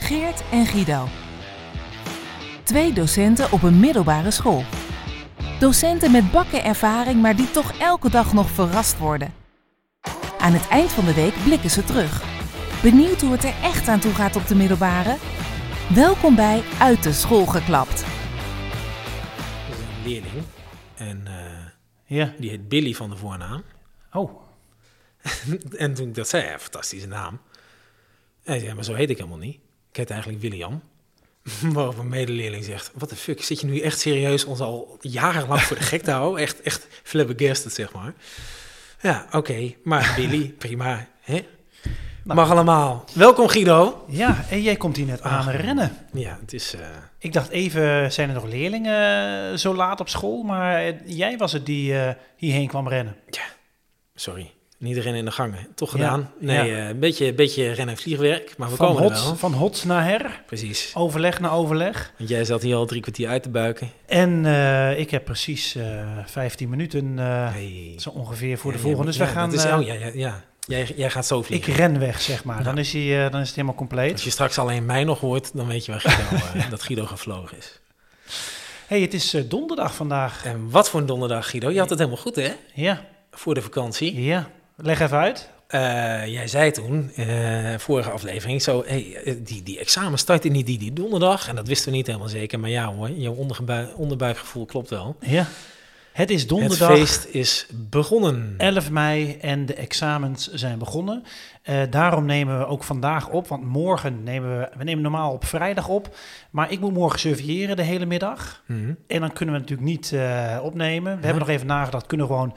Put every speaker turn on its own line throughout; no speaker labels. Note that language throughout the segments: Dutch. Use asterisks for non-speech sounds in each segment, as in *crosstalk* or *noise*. Geert en Guido. Twee docenten op een middelbare school. Docenten met bakken ervaring, maar die toch elke dag nog verrast worden. Aan het eind van de week blikken ze terug. Benieuwd hoe het er echt aan toe gaat op de middelbare? Welkom bij Uit de School geklapt.
Er is een leerling en eh,
Ja.
die heet Billy van de voornaam.
Oh.
en toen ik dat zei, ja, fantastische naam. En hij zei, maar zo heet ik helemaal niet. Ik heet eigenlijk William. *laughs* Waarop een medeleerling zegt, wat de fuck, zit je nu echt serieus ons al jarenlang voor de gek te houden? Echt, echt flabbergasted, zeg maar. Ja, oké,
*laughs*
maar Billy, prima, hè?
Nou.
Mag allemaal. Welkom Guido.
Ja, en jij komt hier net aan rennen.
Ja, het is... eh,
Ik dacht even, zijn er nog leerlingen eh, zo laat op school? Maar eh, jij was het die eh, hierheen kwam rennen.
Ja, sorry. Niet rennen in de gangen. Toch
Ja,
gedaan. Nee,
ja.
eh, een beetje, beetje rennen en vliegwerk. Maar we
Van
komen er
hots,
wel.
van hots naar her,
Precies.
overleg naar overleg.
Want jij zat hier al drie kwartier uit te buiken.
En eh, ik heb precies eh 15 minuten eh, zo ongeveer voor de volgende. Dus we gaan,
Is,
eh,
oh, ja, ja, ja. Jij, jij gaat zo
ik
vliegen.
ren weg, zeg maar.
Ja.
Dan, is hij, eh, dan is het helemaal compleet.
Als je straks alleen mij nog hoort, dan weet je waar
*laughs*
Guido, eh, dat Guido gevlogen is.
hey, het is eh, donderdag vandaag.
En wat voor een donderdag, Guido. Je had het helemaal goed, hè?
Ja,
Voor de vakantie.
ja. Leg even uit.
Eh, jij zei toen, eh, vorige aflevering, zo, hey, eh, die, die examen startte niet die, die donderdag. En dat wisten we niet helemaal zeker. Maar ja hoor, jouw ondergebui- onderbuikgevoel klopt wel.
Ja. Het is donderdag.
Het feest is begonnen.
11 mei en de examens zijn begonnen. Eh, daarom nemen we ook vandaag op, want morgen nemen we, we nemen normaal op vrijdag op. Maar ik moet morgen surveilleren de hele middag.
Mhm.
En dan kunnen we natuurlijk niet eh, opnemen. We
Ja.
hebben nog even nagedacht, kunnen we gewoon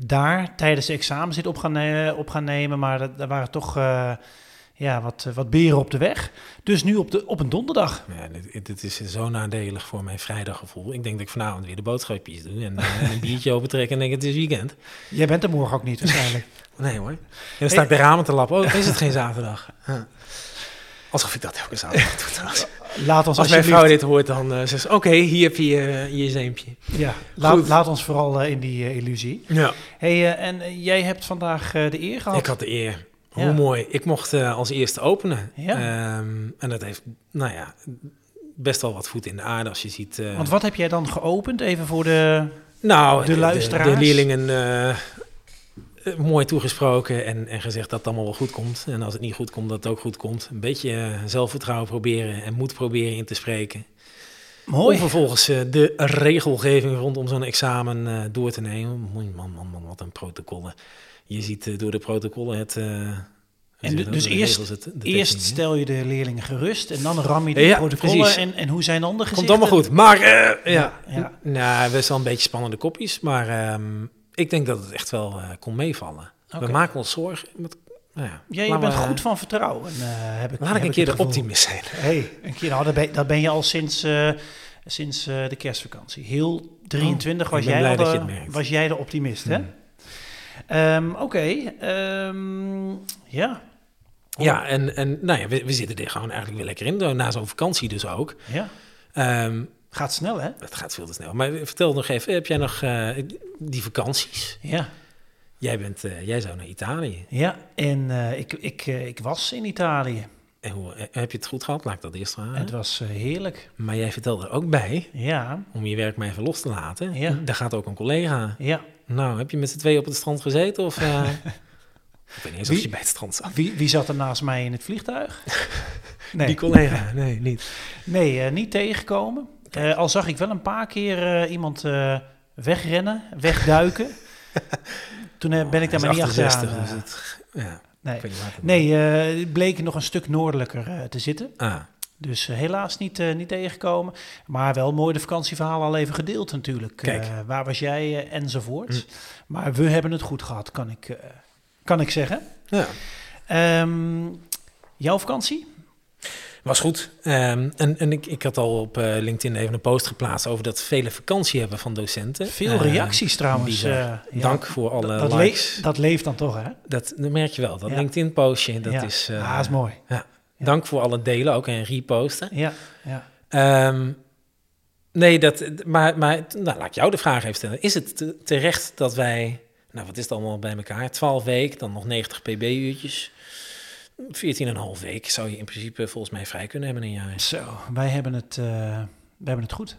daar tijdens de examens dit op gaan, eh, op gaan nemen. Maar dat- daar waren toch eh, ja, wat, eh, wat beren op de weg. Dus nu op, de, op een donderdag.
Ja, dit, dit is zo nadelig voor mijn vrijdaggevoel. Ik denk dat ik vanavond weer de boodschapjes doe en, eh, *laughs* en een biertje opentrekken en denk het is weekend.
Jij bent er morgen ook niet waarschijnlijk.
Nee hoor. En dan sta ik de ramen te lappen. Oh, is het *laughs* geen zaterdag? Huh. Alsof ik dat elke zaterdag *laughs* doe trouwens.
*laughs* Laat ons
Als mijn
alsjeblieft-
vrouw dit hoort, dan eh, zegt ze, oké, hier heb je eh, je zeempje.
Ja, laat,
Goed.
laat ons vooral eh, in die eh, illusie.
Ja.
Hey, eh, en eh, jij hebt vandaag eh, de eer gehad.
Ik had de eer.
Ja.
Hoe mooi. Ik mocht eh, als eerste openen.
Ja.
Ehm, en dat heeft, nou ja, best wel wat voet in de aarde als je ziet... eh,
Want wat heb jij dan geopend? Even voor de.
Nou,
De
de, luisteraars. De,
luisteraars.
leerlingen eh, eh, mooi toegesproken en, en gezegd dat het allemaal wel goed komt. En als het niet goed komt, dat het ook goed komt. Een beetje eh, zelfvertrouwen proberen en moed proberen in te spreken. Om
Mooi.
vervolgens eh, de regelgeving rondom zo'n examen eh, door te nemen. Man, man, man, man, wat een protocollen. Je ziet eh, door de protocollen het... eh, hoe zeg je
de-
dat?
dus
Door de
eerst-
regels het- de
Eerst
techniek, hè?
stel je de leerlingen gerust en dan ram je de
Ja, precies.
protocollen. En, en hoe zijn dan de
Komt
gezichten?
allemaal goed. Maar, eh, ja.
Ja.
Nou, best wel een beetje spannende kopjes. Maar ehm, ik denk dat het echt wel eh, kon meevallen.
Oké.
We maken ons zorgen. Met, nou ja,
Ja, je
laat
bent
maar-
goed van vertrouwen. eh, heb ik,
Laat
heb
ik een
ik
keer
het
de
gevoel.
optimist zijn. *laughs*
hey, een keer, nou, dat, ben, dat ben je al sinds, eh, sinds eh, de kerstvakantie. Heel 23
Oh,
was,
ik ben
jij
blij dat
al de-
je het merkt. Hmm.
was jij de optimist, hè? Ehm, Oké, ehm, ja,
Ja, en, en nou ja, we, we zitten er gewoon eigenlijk weer lekker in. Na zo'n vakantie dus ook.
ja.
Ehm,
Gaat snel, hè?
het gaat veel te snel. Maar vertel nog even, heb jij nog eh, die vakanties?
Ja.
Jij, bent, eh, jij zou naar Italië.
Ja, en eh, ik, ik, eh, ik was in Italië.
En hoe, eh, heb je het goed gehad? Laat ik dat eerst vragen.
Het was eh, heerlijk.
Maar jij vertelde er ook bij,
Ja,
om je werk maar even los te laten.
Ja.
Daar gaat ook een collega.
ja.
Nou, heb je met z'n tweeën op het strand gezeten? Of, eh,
*laughs*
ik weet niet eens of
Wie?
je bij het strand zat.
Wie, wie zat er naast mij in het vliegtuig?
Ah. *laughs* Die
Nee,
collega, nee, niet.
nee eh, niet tegengekomen. Eh, al zag ik wel een paar keer eh, iemand eh, wegrennen,
*laughs*
wegduiken. Toen eh, ben ik daar maar niet achteraan.
Dus
eh,
het, ja,
nee,
ik weet niet waar het
nee eh, het bleek nog een stuk noordelijker eh, te zitten.
Ah,
Dus eh, helaas niet, eh, niet tegengekomen. Maar wel mooi de vakantieverhalen al even gedeeld natuurlijk.
Kijk. Hm.
Eh, waar was jij eh, enzovoorts. Maar we hebben het goed gehad, kan ik, eh, kan ik zeggen.
ja.
Ehm, jouw vakantie?
Was goed. Ehm, en en ik, ik had al op eh, LinkedIn even een post geplaatst over dat vele vakantie hebben van docenten.
Veel
Eh,
reacties trouwens.
bizar.
eh, ja.
Dank voor alle
dat, dat
likes.
leeft- dat leeft dan toch, hè?
dat, dat merk je wel. Dat
Ja.
LinkedIn postje, dat
ja.
is... eh,
ah, is mooi.
Dank voor alle delen, ook en reposten.
Ja, ja.
Ehm, nee, dat, maar, maar nou, laat ik jou de vraag even stellen. Is het te- terecht dat wij, nou wat is het allemaal bij elkaar? 12 weken, dan nog 90 pb-uurtjes. 14,5 week zou je in principe volgens mij vrij kunnen hebben in een jaar.
Zo, wij hebben het, eh, wij hebben het goed.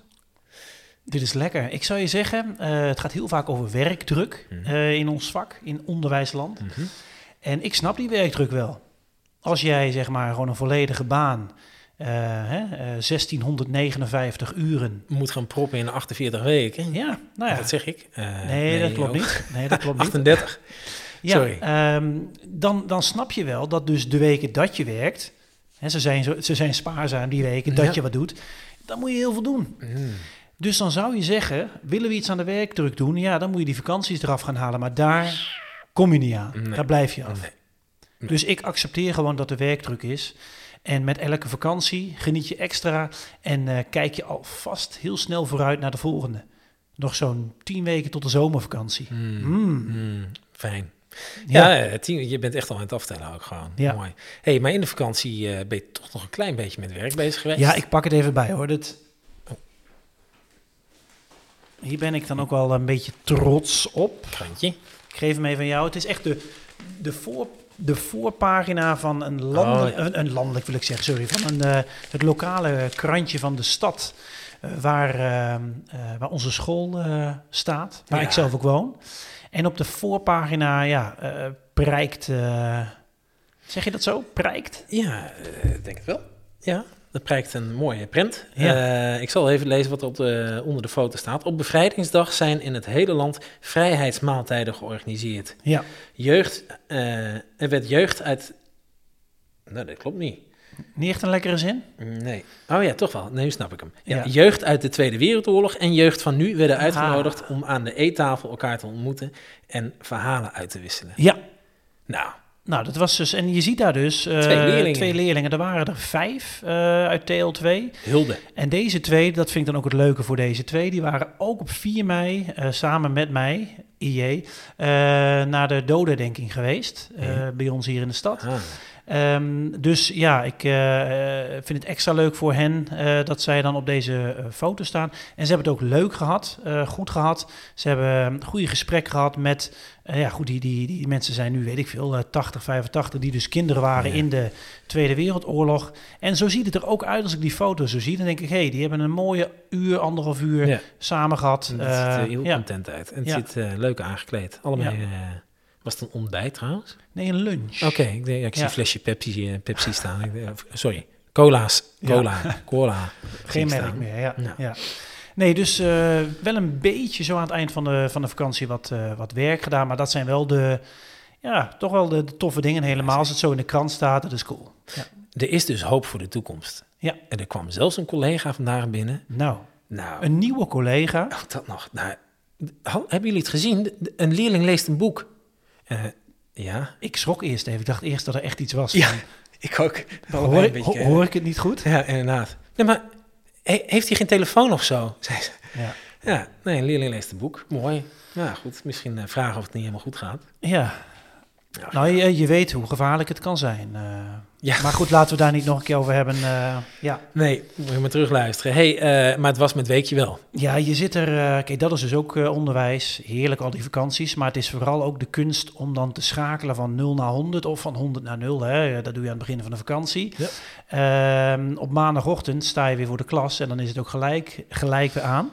Dit is lekker. Ik zou je zeggen, eh, het gaat heel vaak over werkdruk
Mhm.
eh, in ons vak, in onderwijsland.
Mhm.
En ik snap die werkdruk wel. Als jij zeg maar gewoon een volledige baan, eh, hè, eh, 1659 uren.
Moet gaan proppen in 48 weken.
Ja, nou ja.
Dat zeg ik. Eh,
nee, dat klopt
ook.
niet. Nee, dat
*laughs*
klopt niet.
38.
Ja,
Sorry.
ehm, dan, dan snap je wel dat dus de weken dat je werkt, hè, ze, zijn zo, ze zijn spaarzaam die weken dat
Ja.
je wat doet, dan moet je heel veel doen.
Mm.
Dus dan zou je zeggen, willen we iets aan de werkdruk doen? Ja, dan moet je die vakanties eraf gaan halen. Maar daar kom je niet aan.
Nee.
Daar blijf je af.
Nee. Nee.
Dus ik accepteer gewoon dat er werkdruk is. En met elke vakantie geniet je extra en eh, kijk je alvast heel snel vooruit naar de volgende. Nog zo'n tien weken tot de zomervakantie.
Mm.
Mm.
Mm. Fijn.
Ja.
Ja, eh, tien, je bent echt al aan het aftellen ook gewoon.
Ja.
Mooi. hey, maar in de vakantie eh, ben je toch nog een klein beetje met werk bezig geweest?
ja, ik pak het even bij hoor. Dat... Hier ben ik dan ook wel een beetje trots op.
Krantje.
Ik geef hem even aan jou. Het is echt de, de, voor, de voorpagina van een landelijk,
Oh, ja.
een, een landelijk wil ik zeggen, sorry, van een, eh, het lokale krantje van de stad. eh, waar, eh, eh, waar onze school eh, staat, waar
Ja.
ik zelf ook woon. En op de voorpagina, ja, eh prijkt. eh, zeg je dat zo? Prijkt?
Ja, eh, ik denk het wel. Ja, dat prijkt een mooie print.
Ja.
Eh, ik zal even lezen wat er op de, onder de foto staat. Op bevrijdingsdag zijn in het hele land vrijheidsmaaltijden georganiseerd.
Ja.
Jeugd, eh, er werd jeugd uit... Nou, dat klopt niet.
Niet echt een lekkere zin?
Nee. Oh ja, toch wel. Nee, nu snap ik hem. Ja,
Ja.
Jeugd uit de Tweede Wereldoorlog en jeugd van nu werden
Ah.
uitgenodigd om aan de eettafel elkaar te ontmoeten en verhalen uit te wisselen.
Ja.
Nou,
Nou, dat was dus. En je ziet daar dus eh,
Twee leerlingen.
twee leerlingen. Er waren er vijf eh, uit TL2.
hulde.
En deze twee, dat vind ik dan ook het leuke voor deze twee, die waren ook op 4 mei eh, samen met mij, IJ, eh, naar de dodendenking geweest eh,
Mhm.
bij ons hier in de stad.
Ah.
Ehm, dus ja, ik eh, eh, vind het extra leuk voor hen eh, dat zij dan op deze eh, foto staan. En ze hebben het ook leuk gehad, eh, goed gehad. Ze hebben een goede gesprek gehad met, eh, ja goed, die, die, die mensen zijn nu, weet ik veel, eh, 80, 85, die dus kinderen waren
Ja.
in de Tweede Wereldoorlog. En zo ziet het er ook uit als ik die foto zo zie. Dan denk ik, hé, hey, die hebben een mooie uur, anderhalf uur
Ja.
samen gehad.
Het
Eh,
ziet er heel
ja.
content uit. En het
Ja.
ziet eh, leuk aangekleed. Allemaal. eh, was het een ontbijt trouwens?
Nee, een lunch.
Oké, ik, denk- ja, ik zie
Ja.
een flesje Pepsi, eh, Pepsi staan. Ik denk- of, sorry, cola's. Cola. Cola.
*laughs* Geen
Zie ik
merk
staan.
meer, ja.
Ja.
ja. Nee, dus eh, wel een beetje zo aan het eind van de, van de vakantie wat, eh, wat werk gedaan. Maar dat zijn wel de, ja, toch wel de, de toffe dingen helemaal. Als het zo in de krant staat, dat is cool. Ja.
Er is dus hoop voor de toekomst.
Ja.
En er kwam zelfs een collega vandaag binnen.
Nou,
Nou,
een nieuwe collega.
Oh, dat nog. Nou, ha- hebben jullie het gezien? De- de- Een leerling leest een boek. Eh, ja.
Ik schrok eerst even. Ik dacht eerst dat er echt iets was. Van,
ik ook.
hoor, ik- ho- hoor ik het niet goed?
Ja, inderdaad. Nee, maar he- heeft hij geen telefoon of zo? Zei ze.
Ja.
Ja, nee, een leerling leest een boek. Mooi. Nou goed, misschien eh, vragen of het niet helemaal goed gaat.
ja.
Ja.
Nou, je, je weet hoe gevaarlijk het kan zijn. eh.
Ja.
Maar goed, laten we daar niet nog een keer over hebben. eh, ja.
Nee, moet je maar terugluisteren. hey, eh, maar het was met Weekje wel.
Ja, je zit er. eh, kijk, dat is dus ook eh, onderwijs. Heerlijk al die vakanties. Maar het is vooral ook de kunst om dan te schakelen van 0 naar 100 of van 100 naar 0. Hè. Eh, Dat doe je aan het begin van de vakantie.
Ja.
Ehm, op maandagochtend sta je weer voor de klas en dan is het ook gelijk, gelijk weer aan.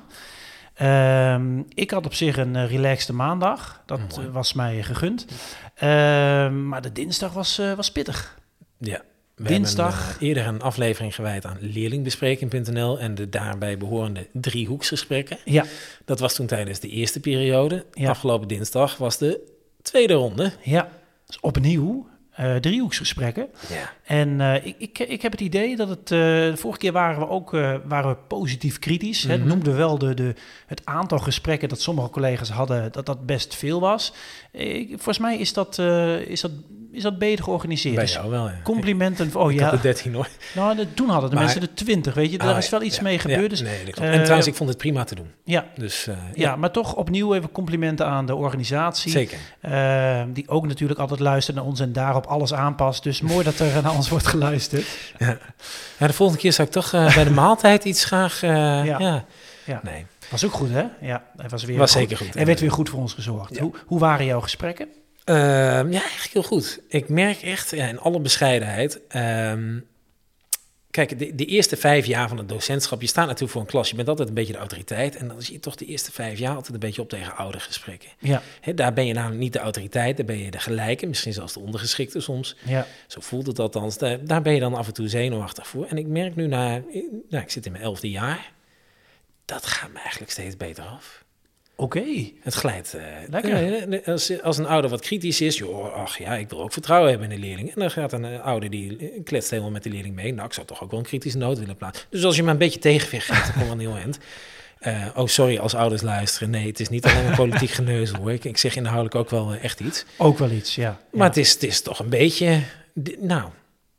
Ehm, ik had op zich een eh, relaxte maandag. Dat
Mooi.
eh, was mij gegund. Ehm, maar de dinsdag was, eh, was pittig.
Ja. We
Dinsdag.
hebben eh, eerder een aflevering gewijd aan leerlingbespreking.nl en de daarbij behorende driehoeksgesprekken.
Ja,
Dat was toen tijdens de eerste periode.
Ja.
Afgelopen dinsdag was de tweede ronde.
ja. Dus opnieuw eh, driehoeksgesprekken.
Ja.
En eh, ik, ik, ik heb het idee dat het. eh, de vorige keer waren we ook eh, waren we positief kritisch. Hè.
Mhm.
Noemden wel de, de, het aantal gesprekken dat sommige collega's hadden, dat dat best veel was. Ik, volgens mij is dat, eh, is dat, is dat beter georganiseerd.
Bij
Dus
jou wel, ja.
complimenten. voor- Oh
Ik had
ja.
de 13 hoor.
Nou, de- toen hadden de
Maar-
mensen de 20, weet je. Daar
Ah,
is wel iets
ja,
mee
ja,
gebeurd. dus,
nee, dat klopt.
eh,
en trouwens, ik vond het prima te doen.
ja,
Dus eh,
ja, maar toch opnieuw even complimenten aan de organisatie.
zeker.
eh, die ook natuurlijk altijd luistert naar ons en daarop alles aanpast. Dus mooi dat er naar ons wordt geluisterd.
Ja, de volgende keer zou ik toch eh, bij de maaltijd iets graag... eh, ja.
Ja.
Nee,
Was ook goed, hè? Ja, hij was weer
was
goed.
zeker goed.
Er werd weer goed voor ons gezorgd.
Ja.
Hoe, hoe waren jouw gesprekken?
Ehm, ja, eigenlijk heel goed. Ik merk echt, ja, in alle bescheidenheid. ehm, kijk, de, de eerste vijf jaar van het docentschap, je staat natuurlijk voor een klas, je bent altijd een beetje de autoriteit. En dan zie je toch de eerste vijf jaar altijd een beetje op tegen oude gesprekken.
Ja,
Hè, daar ben je namelijk niet de autoriteit, daar ben je de gelijke, misschien zelfs de ondergeschikte soms.
ja,
Zo voelt het althans. Daar, daar ben je dan af en toe zenuwachtig voor. En ik merk nu, na, nou, ik zit in mijn elfde jaar, dat gaat me eigenlijk steeds beter af.
oké.
Het glijdt. eh,
Lekker.
eh, eh, als, als een ouder wat kritisch is, joh, ach ja, ik wil ook vertrouwen hebben in de leerling. En dan gaat een eh, ouder die eh, kletst helemaal met de leerling mee. Nou, ik zou toch ook wel een kritische noot willen plaatsen. Dus als je maar een beetje tegenwicht *laughs* geeft, dan komt wel een heel eind. Eh, oh, sorry als ouders luisteren. Nee, het is niet alleen maar politiek *laughs* geneuzel hoor. Ik, ik zeg inhoudelijk ook wel eh, echt iets.
Ook wel iets, ja.
Maar het, is, het is toch een beetje, di- nou,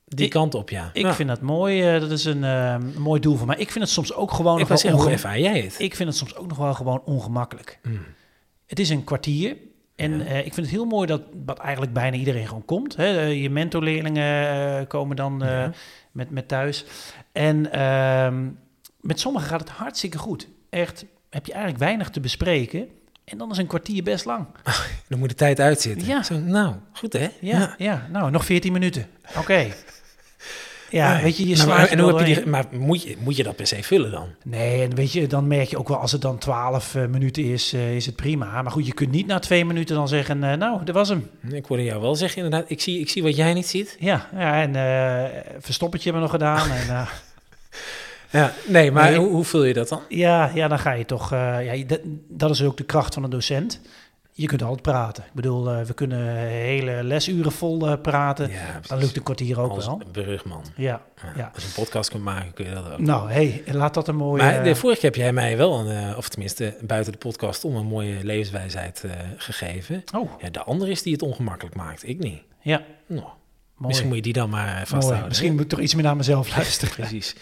die
Ik-
kant op ja.
Ik
Nou,
vind dat mooi. eh, dat is een eh, mooi doel voor mij. Ik vind het soms ook gewoon
ik
nog
was
wel
heel goed,
onge-
ervaar jij het?
Ik vind het soms ook nog wel gewoon ongemakkelijk.
Mm.
Het is een kwartier. En
Ja.
eh, ik vind het heel mooi dat wat eigenlijk bijna iedereen gewoon komt. Hè? Eh, Je mentorleerlingen eh, komen dan eh,
Ja.
met, met thuis. En ehm, met sommigen gaat het hartstikke goed. Echt, heb je eigenlijk weinig te bespreken. En dan is een kwartier best lang.
Dan moet de tijd uitzitten.
Ja.
Zo, nou, goed hè?
Ja, ja. nou, nog 14 minuten. Oké.
*laughs*
Ja,
Nee.
weet je, je
Nou, maar,
slaat
en
er
hoe
wel
heb je die,
doorheen.
maar moet je, moet je dat per se vullen dan?
Nee, en weet je, dan merk je ook wel als het dan 12 eh, minuten is, eh, is het prima. Maar goed, je kunt niet na twee minuten dan zeggen, eh, nou, dat was hem.
Ik hoorde jou wel zeggen, inderdaad. Ik zie, ik zie wat jij niet ziet.
Ja, ja en eh verstoppertje hebben we nog gedaan. En, eh,
*laughs* Ja, nee, maar
Nee.
Hoe, hoe vul je dat dan?
ja, ja, dan ga je toch, eh, ja, je- dat, dat is ook de kracht van een docent. Je kunt altijd praten. Ik bedoel, eh, we kunnen hele lesuren vol eh, praten.
Ja,
dan lukt een kwartier ook
Als
wel.
een brugman.
Ja,
Ja,
Ja.
Als je een podcast kunt maken, kun je dat ook.
nou, hey, laat dat een mooie...
maar de vorige keer heb jij mij wel, een, eh, of tenminste buiten de podcast, om een mooie levenswijsheid eh, gegeven.
Oh,
Ja, de ander is die het ongemakkelijk maakt, ik niet.
ja,
Nou,
mooi.
misschien moet je die dan maar eh,
Mooi.
vasthouden. *laughs*
Misschien moet ik toch iets meer naar mezelf luisteren.
Precies.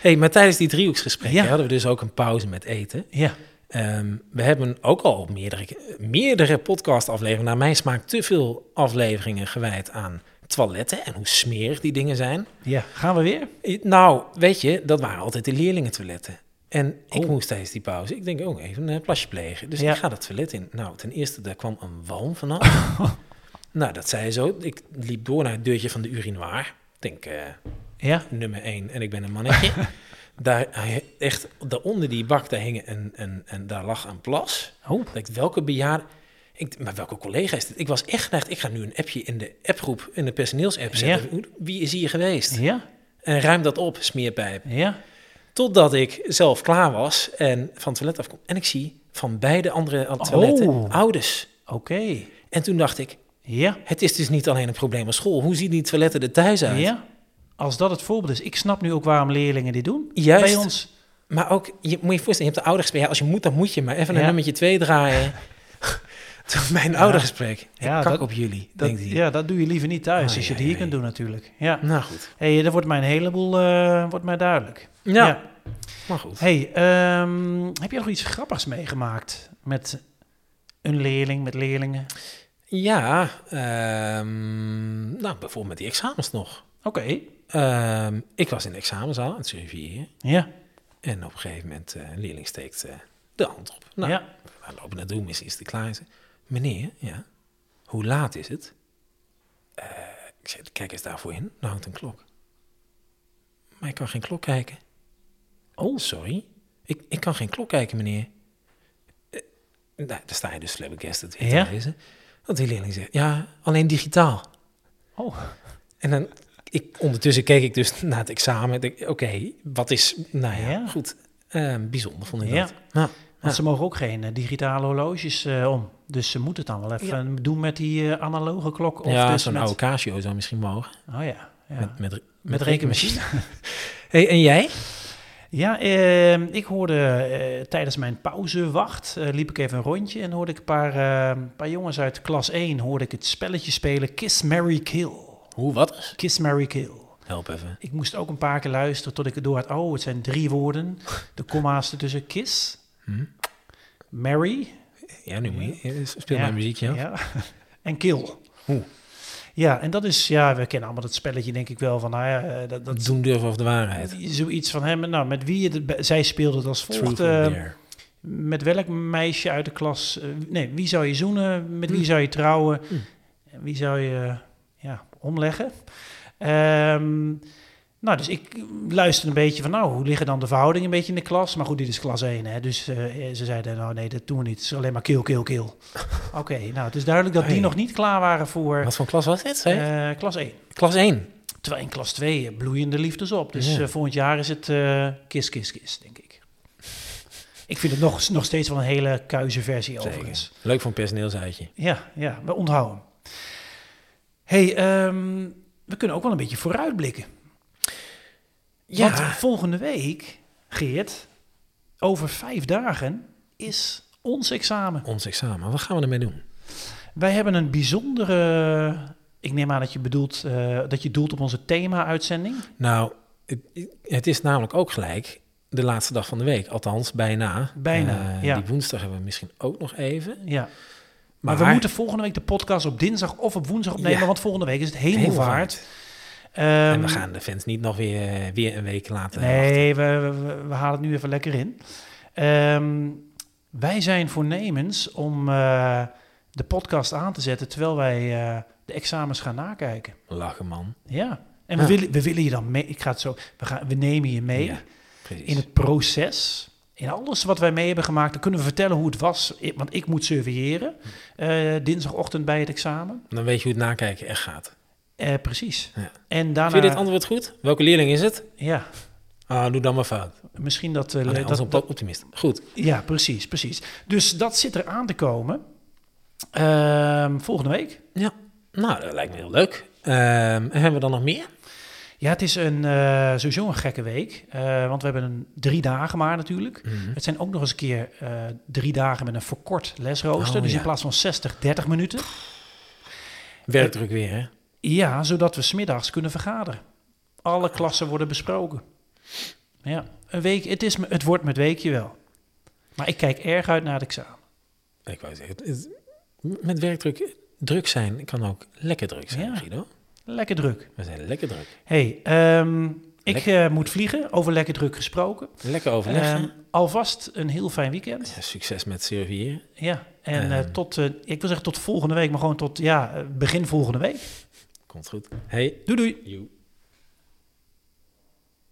hey, maar tijdens die driehoeksgesprekken
Ja.
hadden we dus ook een pauze met eten.
Ja,
Ehm, we hebben ook al meerdere, meerdere podcastafleveringen, naar mijn smaak te veel afleveringen gewijd aan toiletten en hoe smerig die dingen zijn.
ja. Gaan we weer?
Eh, Nou, weet je, dat waren altijd de leerlingentoiletten. En ik
Oh.
moest tijdens die pauze, ik denk ook even een plasje plegen. Dus
Ja.
ik ga dat toilet in. Nou, ten eerste, daar kwam een walm vanaf.
*laughs*
nou, dat zei zo. Ik liep door naar het deurtje van de urinoir. Ik denk, eh,
Ja.
nummer één en ik ben een
*laughs*
mannetje. daar, hij- echt, daaronder die bak, daar, hing een, een, een, daar lag een plas.
Oh.
Ik dacht, welke bejaarde... Ik, maar welke collega is dit? Ik was echt geneigd, ik ga nu een appje in de appgroep, in de personeelsapp zetten. Hoe- Wie is hier geweest?
Ja,
En ruim dat op, smeerpijp.
ja.
Totdat ik zelf klaar was en van het toilet afkom. En ik zie van beide andere eh, toiletten
Oh.
ouders.
Oké.
En toen dacht ik,
Ja,
het is dus niet alleen een probleem op school. Hoe zien die toiletten er thuis uit?
ja. Als dat het voorbeeld is. Ik snap nu ook waarom leerlingen dit doen.
Juist.
Bij ons.
Maar ook, je moet je voorstellen, je hebt de oudergesprek. Ja, als je moet, dan moet je maar even een
Ja.
nummertje twee draaien. *laughs* Toen Mijn oudergesprek.
Ja,
ik kak
dat-
op jullie,
Dat,
denkt hij.
ja, dat doe je liever niet thuis.
Oh,
als je
ja,
die
ja,
hier kunt
ja.
doen natuurlijk. Ja.
Nou goed.
hey, dat wordt mij een heleboel eh, wordt mij duidelijk.
Ja, maar goed.
hey, ehm, heb je nog iets grappigs meegemaakt met een leerling, met leerlingen?
Ja, ehm, nou bijvoorbeeld met die examens nog.
Oké.
Ehm, ik was in de examenzaal aan het surveilleren.
Ja.
En op een gegeven moment, eh, een leerling steekt eh, de hand op. Nou,
ja.
we lopen naartoe, misschien is het klaar. Hij zegt, Meneer, ja, hoe laat is het? Eh, ik zeg, kijk eens daarvoor in, er hangt een klok. Maar ik kan geen klok kijken. Oh, sorry. Ik, ik kan geen klok kijken, meneer. Eh, nou, daar sta je dus flabbergast het weer
Ja?
te lezen. Want die leerling zegt, ja, alleen digitaal.
Oh.
En dan, ik, ondertussen keek ik dus naar het examen. Ik denk, Oké, wat is, nou ja,
Ja.
goed. Eh, bijzonder vond ik
Ja.
dat. Nou,
Want ze mogen ook geen eh, digitale horloges eh, om. Dus ze moeten het dan wel even doen met die eh, analoge klok. Of
ja,
dus
zo'n
met-
oude Casio zou misschien mogen.
Oh ja. ja.
Met, met, met,
rekenmachine.
rekenmachine. hey, en jij?
Ja, ehm, ik hoorde eh, tijdens mijn pauzewacht, eh, liep ik even een rondje en hoorde ik een paar, eh, een paar jongens uit klas 1, hoorde ik het spelletje spelen Kiss, Mary, Kill.
Hoe, wat?
Kiss, Mary, Kill.
Help even.
Ik moest ook een paar keer luisteren tot ik het door had, oh, het zijn drie woorden, de komma's ertussen, kiss,
Hm.
Mary,
Ja, nu moet je. eh, Speel
Ja, *laughs*
mijn muziek, ja.
En kill.
Oeh.
Ja, en dat is, ja, we kennen allemaal dat spelletje denk ik wel van, nou ja, eh, dat, dat
Doen durven of de waarheid.
zoiets van hem, nou, met wie het, be- zij speelde het als
Truth
volgt.
or
eh,
dare. Hmm.
Met welk meisje uit de klas? eh, nee, wie zou je zoenen? Met wie zou je trouwen?
Hm.
En wie zou je ja, omleggen? Ehm, nou, dus ik luister een beetje van, nou, hoe liggen dan de verhoudingen een beetje in de klas? Maar goed, dit is klas 1, hè? dus eh, ze zeiden, nou nee, dat doen we niet. Het is alleen maar kill, kill, kill.
*laughs*
Oké, nou, het is duidelijk dat die
Hey.
nog niet klaar waren voor
Wat voor klas was dit? zei je?
eh, klas 1.
klas 1.
Terwijl in klas 2 bloeien de liefdes op. Dus
Ja.
eh, volgend jaar is het eh kis, kis, kis, denk ik. Ik vind het nog, nog steeds wel een hele kuize versie overigens.
Leuk voor een personeelsuitje.
Ja, ja, we onthouden. hey, ehm, we kunnen ook wel een beetje vooruitblikken.
Ja.
Want volgende week, Geert, over vijf dagen is ons examen.
Ons examen. Wat gaan we ermee doen?
Wij hebben een bijzondere... Ik neem aan dat je bedoelt eh, dat je doelt op onze thema-uitzending.
Nou, het, het is namelijk ook gelijk de laatste dag van de week. Althans, bijna.
Bijna,
Eh,
ja.
Die woensdag hebben we misschien ook nog even.
Ja.
Maar,
Maar, we moeten volgende week de podcast op dinsdag of op woensdag opnemen,
Ja.
want volgende week is het
Hemelvaart.
hemelvaart. Ehm,
en we gaan de fans niet nog weer, weer een week laten wachten.
Nee, we, we, we halen het nu even lekker in. Ehm, wij zijn voornemens om eh, de podcast aan te zetten terwijl wij eh, de examens gaan nakijken.
Lachen, man.
Ja. En we,
Ja.
willen, we willen je dan mee. Ik ga het zo. We, gaan, we nemen je mee
Ja, precies.
in het proces. In alles wat wij mee hebben gemaakt. Dan kunnen we vertellen hoe het was. Ik- Want ik moet surveilleren
Hm.
eh, dinsdagochtend bij het examen.
Dan weet je hoe het nakijken echt gaat.
Eh, precies.
Ja.
En daarna...
Vind je dit antwoord goed? Welke leerling is het?
Ja,
Ah, doe dan maar fout.
misschien dat... eh,
Ah, nee,
dat,
dat,
dat-
optimist. Goed.
ja, precies, precies. Dus dat zit er aan te komen. Ehm, volgende week.
Ja. Nou, dat lijkt me heel leuk. Ehm, en hebben we dan nog meer?
Ja, het is een, eh, sowieso een gekke week. eh, want we hebben een drie dagen maar natuurlijk.
Mhm.
Het zijn ook nog eens een keer eh, drie dagen met een verkort lesrooster.
Oh,
dus
ja.
in plaats van 60, 30 minuten.
Werkdruk weer, hè?
Ja, zodat we smiddags kunnen vergaderen. Alle klassen worden besproken. Ja, een week, het, is, me- het wordt met weekje wel. Maar ik kijk erg uit naar het examen.
Ik wou zeggen, het is- met werkdruk druk zijn kan ook lekker druk zijn,
Ja.
Guido.
Lekker druk.
We zijn lekker druk.
hey, ehm, ik eh, moet vliegen, over lekker druk gesproken.
Lekker overleggen.
Ehm, alvast een heel fijn weekend.
Ja, succes met surveilleren.
Ja, en eh,
Ehm.
tot, eh, ik wil zeggen tot volgende week, maar gewoon tot ja, eh, begin volgende week.
Komt goed. Hey.
Doei doei.
Joe.